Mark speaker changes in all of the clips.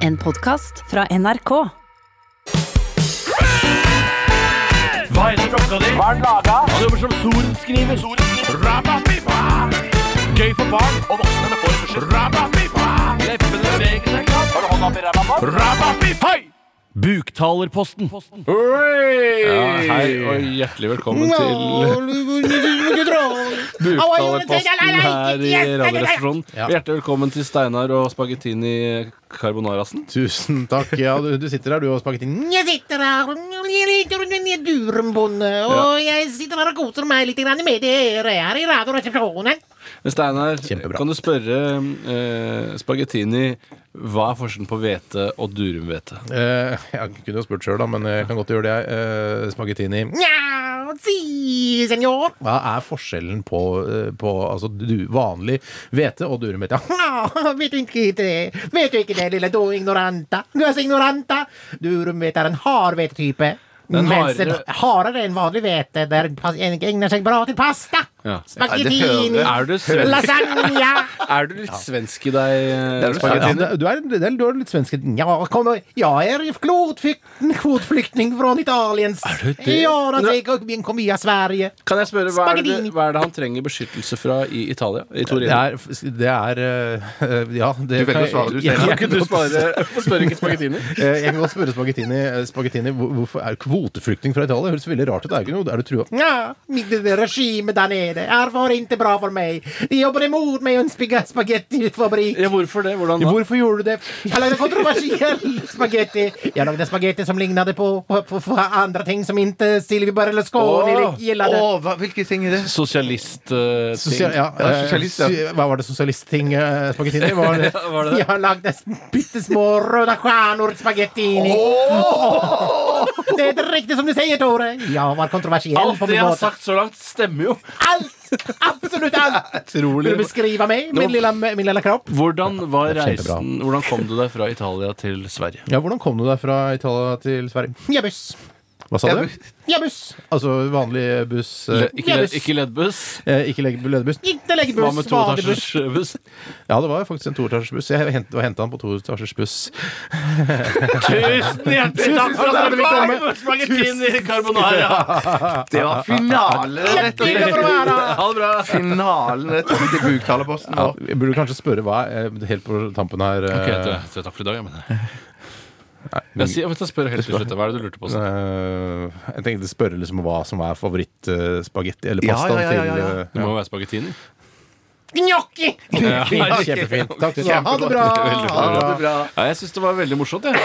Speaker 1: En podkast fra NRK.
Speaker 2: Hva heter klokka di? Hva er den laga? Han jobber som sorenskriver. Rababiba! Gøy for barn og voksne med få ressurser. Rababiba! Leppene beveger seg klart. Har du hånda oppi ræva nå? Rababib! Hei! Buktalerposten.
Speaker 3: Hei og hjertelig velkommen til Buktalerposten her i Radioresepsjonen. Og Hjertelig velkommen til Steinar og spagettini carbonarasen.
Speaker 4: Tusen takk. Ja, du, du sitter her, du og spagetti.
Speaker 5: Jeg sitter her, jeg liker en durenbonde, og jeg sitter her og koser meg litt grann med dere her i Radioresepsjonen.
Speaker 3: Men Steinar,
Speaker 4: Kjempebra.
Speaker 3: kan du spørre eh, spagettini hva er forskjellen på hvete og durumhvete?
Speaker 4: Eh, jeg kunne jo spurt sjøl, da, men jeg kan godt gjøre det, jeg. Eh, spagettini.
Speaker 5: Nja, si, senor.
Speaker 4: Hva er forskjellen på, eh, på altså, du, vanlig hvete og durumhvete? Ja,
Speaker 5: Nå, vet du ikke det? Vet du ikke det, lille do ignoranta? Du er så ignoranta. Durumhvete er en hard hvetetype.
Speaker 3: Den
Speaker 5: Mens en
Speaker 3: hardere-
Speaker 5: hardere enn vanlig hvete, der pas- egner seg bra til pasta.
Speaker 3: Ja.
Speaker 5: Spagettini,
Speaker 3: Er du svensk?
Speaker 5: lasagne.
Speaker 3: Er du litt svensk i deg, eh,
Speaker 4: ja,
Speaker 3: spagettini?
Speaker 4: du, er, du, er, du er litt svensk.
Speaker 5: Ja, kom nå. Jeg er kvotflyktning, kvotflyktning fra Italiens. Er
Speaker 3: du det?
Speaker 5: Ja, da, jeg kom- kom via Sverige.
Speaker 3: Kan jeg spørre, hva er, det,
Speaker 5: Spagettini.
Speaker 3: hva er det han trenger beskyttelse fra i Italia? I
Speaker 4: Det
Speaker 3: Torino?
Speaker 4: er, det er eh, Ja, det
Speaker 6: Du velger å svare, du,
Speaker 4: jeg,
Speaker 6: Steinar.
Speaker 4: jeg,
Speaker 3: Kan du svare? Hvorfor spør ikke spagettini?
Speaker 4: Eh, Jeg kan godt spørre Spagettini, eh, spagettini hvor- hvorfor er du kvoteflyktning fra Italia? Det høres veldig rart ut. Er, det ikke noe- er du trua?
Speaker 5: Ja, mitt regime der nede er for ikke bra for meg. De jobber imot meg og en spag- spagettifabrikk.
Speaker 3: Ja, hvorfor det? Hvordan da?
Speaker 4: Hvorfor gjorde du det?
Speaker 5: Jeg lagde kontroversiell spagetti. Jeg lagde spagetti som lignet på, på, på, på andre ting som ikke Silvi Berlusconi
Speaker 3: Åh,
Speaker 5: gillet.
Speaker 6: Åh, hva, hvilke ting er det?
Speaker 3: Sosialistting?
Speaker 4: Sosial, ja,
Speaker 6: Ja,
Speaker 4: eh,
Speaker 6: sosialist, ja.
Speaker 4: sy- Hva var det sosialistting, eh, spagettini? Hva Var det?
Speaker 3: Var det det?
Speaker 5: Jeg lagde bitte små røde stjerner spagettini. Det er helt riktig som du sier, Tore. Jeg var kontroversiell
Speaker 3: Alt
Speaker 5: på
Speaker 3: det
Speaker 5: min
Speaker 3: jeg har
Speaker 5: måte.
Speaker 3: sagt så langt, stemmer jo.
Speaker 5: Alt! Absolutt alt! Vil du beskrive meg? Min lille, min lille kropp?
Speaker 3: Hvordan var
Speaker 4: Det er kjempebra.
Speaker 3: reisen Hvordan kom du deg fra Italia til Sverige?
Speaker 4: Ja, Hvordan kom du deg fra Italia til Sverige?
Speaker 5: Jeg buss.
Speaker 4: Hva sa
Speaker 6: Ja,
Speaker 4: du?
Speaker 5: Jeg buss.
Speaker 4: Altså vanlig buss
Speaker 3: Le,
Speaker 4: eh,
Speaker 3: ikke, led, ikke leddbuss?
Speaker 4: eh, Ikke legg- ledebuss?
Speaker 5: Ikke legg
Speaker 3: Hva
Speaker 5: buss,
Speaker 3: med
Speaker 5: vanlig buss.
Speaker 3: toetasjers buss?
Speaker 4: Ja, det var faktisk en toetasjers buss. Jeg hent, var henta han på toetasjers buss.
Speaker 3: Tusen hjertelig takk for at dere kom! Spagettini carbonara!
Speaker 6: Det var finalen, rett og
Speaker 5: Hjertelig bra,
Speaker 6: slett.
Speaker 5: da.
Speaker 3: Ha det bra!
Speaker 6: Finalen rett og slett i buktalerposten
Speaker 4: Ja,
Speaker 6: vår.
Speaker 4: vi burde kanskje spørre hva er helt på tampen her eh,
Speaker 3: Ok, det, det, takk for i dag, jeg mener. Jeg, sier, jeg spør helt til slutt. Hva er det du lurte på? Sånn?
Speaker 4: eh, Jeg tenkte spørre liksom hva som er favorittspagetti eller
Speaker 6: Ja,
Speaker 4: pastaen
Speaker 6: ja, ja, ja, ja.
Speaker 3: Det
Speaker 4: til eh,
Speaker 3: må jo være spagettini.
Speaker 5: Gnocchi!
Speaker 3: Ja,
Speaker 4: ja. eh, Kjempefint. Takk. Ha det bra!
Speaker 6: Ha det bra.
Speaker 3: Ja, jeg syns det var veldig morsomt. Jeg. Ah.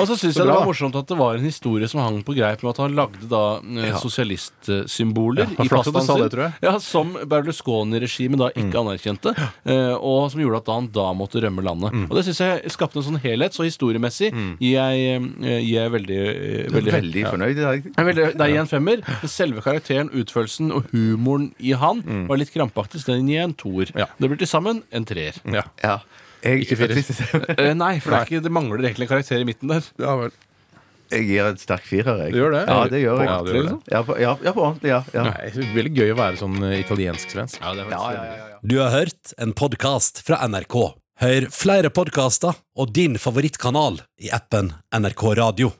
Speaker 3: Og så syns jeg det
Speaker 4: bra,
Speaker 3: var
Speaker 4: da.
Speaker 3: morsomt at det var en historie som hang på greip med at han lagde da eh, sosialistsymboler
Speaker 4: Ja,
Speaker 3: i
Speaker 4: flott at du
Speaker 3: pastaen
Speaker 4: sa
Speaker 3: sin.
Speaker 4: det, tror jeg. Mm.
Speaker 3: ja, som Berlusconi-regimet da ikke anerkjente, eh, og som gjorde at da han da måtte rømme landet.
Speaker 4: Mm.
Speaker 3: Og det syns jeg skapte en sånn helhet, så historiemessig gir jeg, eh, gir jeg veldig, eh,
Speaker 6: Du er
Speaker 3: veldig høyt.
Speaker 6: Veldig fornøyd i dag.
Speaker 3: Jeg er veldig- Det er igjen femmer. men Selve karakteren, utførelsen og humoren i han var litt krampaktig, så den gir jeg en toer.
Speaker 4: Mm. Ja.
Speaker 3: Det blir til sammen en treer.
Speaker 4: Ja.
Speaker 6: Ja. Jeg,
Speaker 4: Ikke firer.
Speaker 3: Eh, nei, for det, er ikke, det mangler egentlig en karakter i midten der.
Speaker 4: Ja vel.
Speaker 6: Jeg gir en sterk firer. Jeg.
Speaker 4: Du gjør det?
Speaker 6: Ja, det gjør
Speaker 4: På
Speaker 6: jeg.
Speaker 4: ordentlig, liksom?
Speaker 6: Ja, på, ja, ja, på ordentlig. Ja. ja.
Speaker 4: Nei, veldig gøy å være sånn eh, italiensk-svensk.
Speaker 3: Ja, det er faktisk
Speaker 6: Ja, ja,
Speaker 3: veldig-
Speaker 6: ja, ja.
Speaker 7: Du har hørt en podkast fra NRK. Hør flere podkaster og din favorittkanal i appen NRK Radio.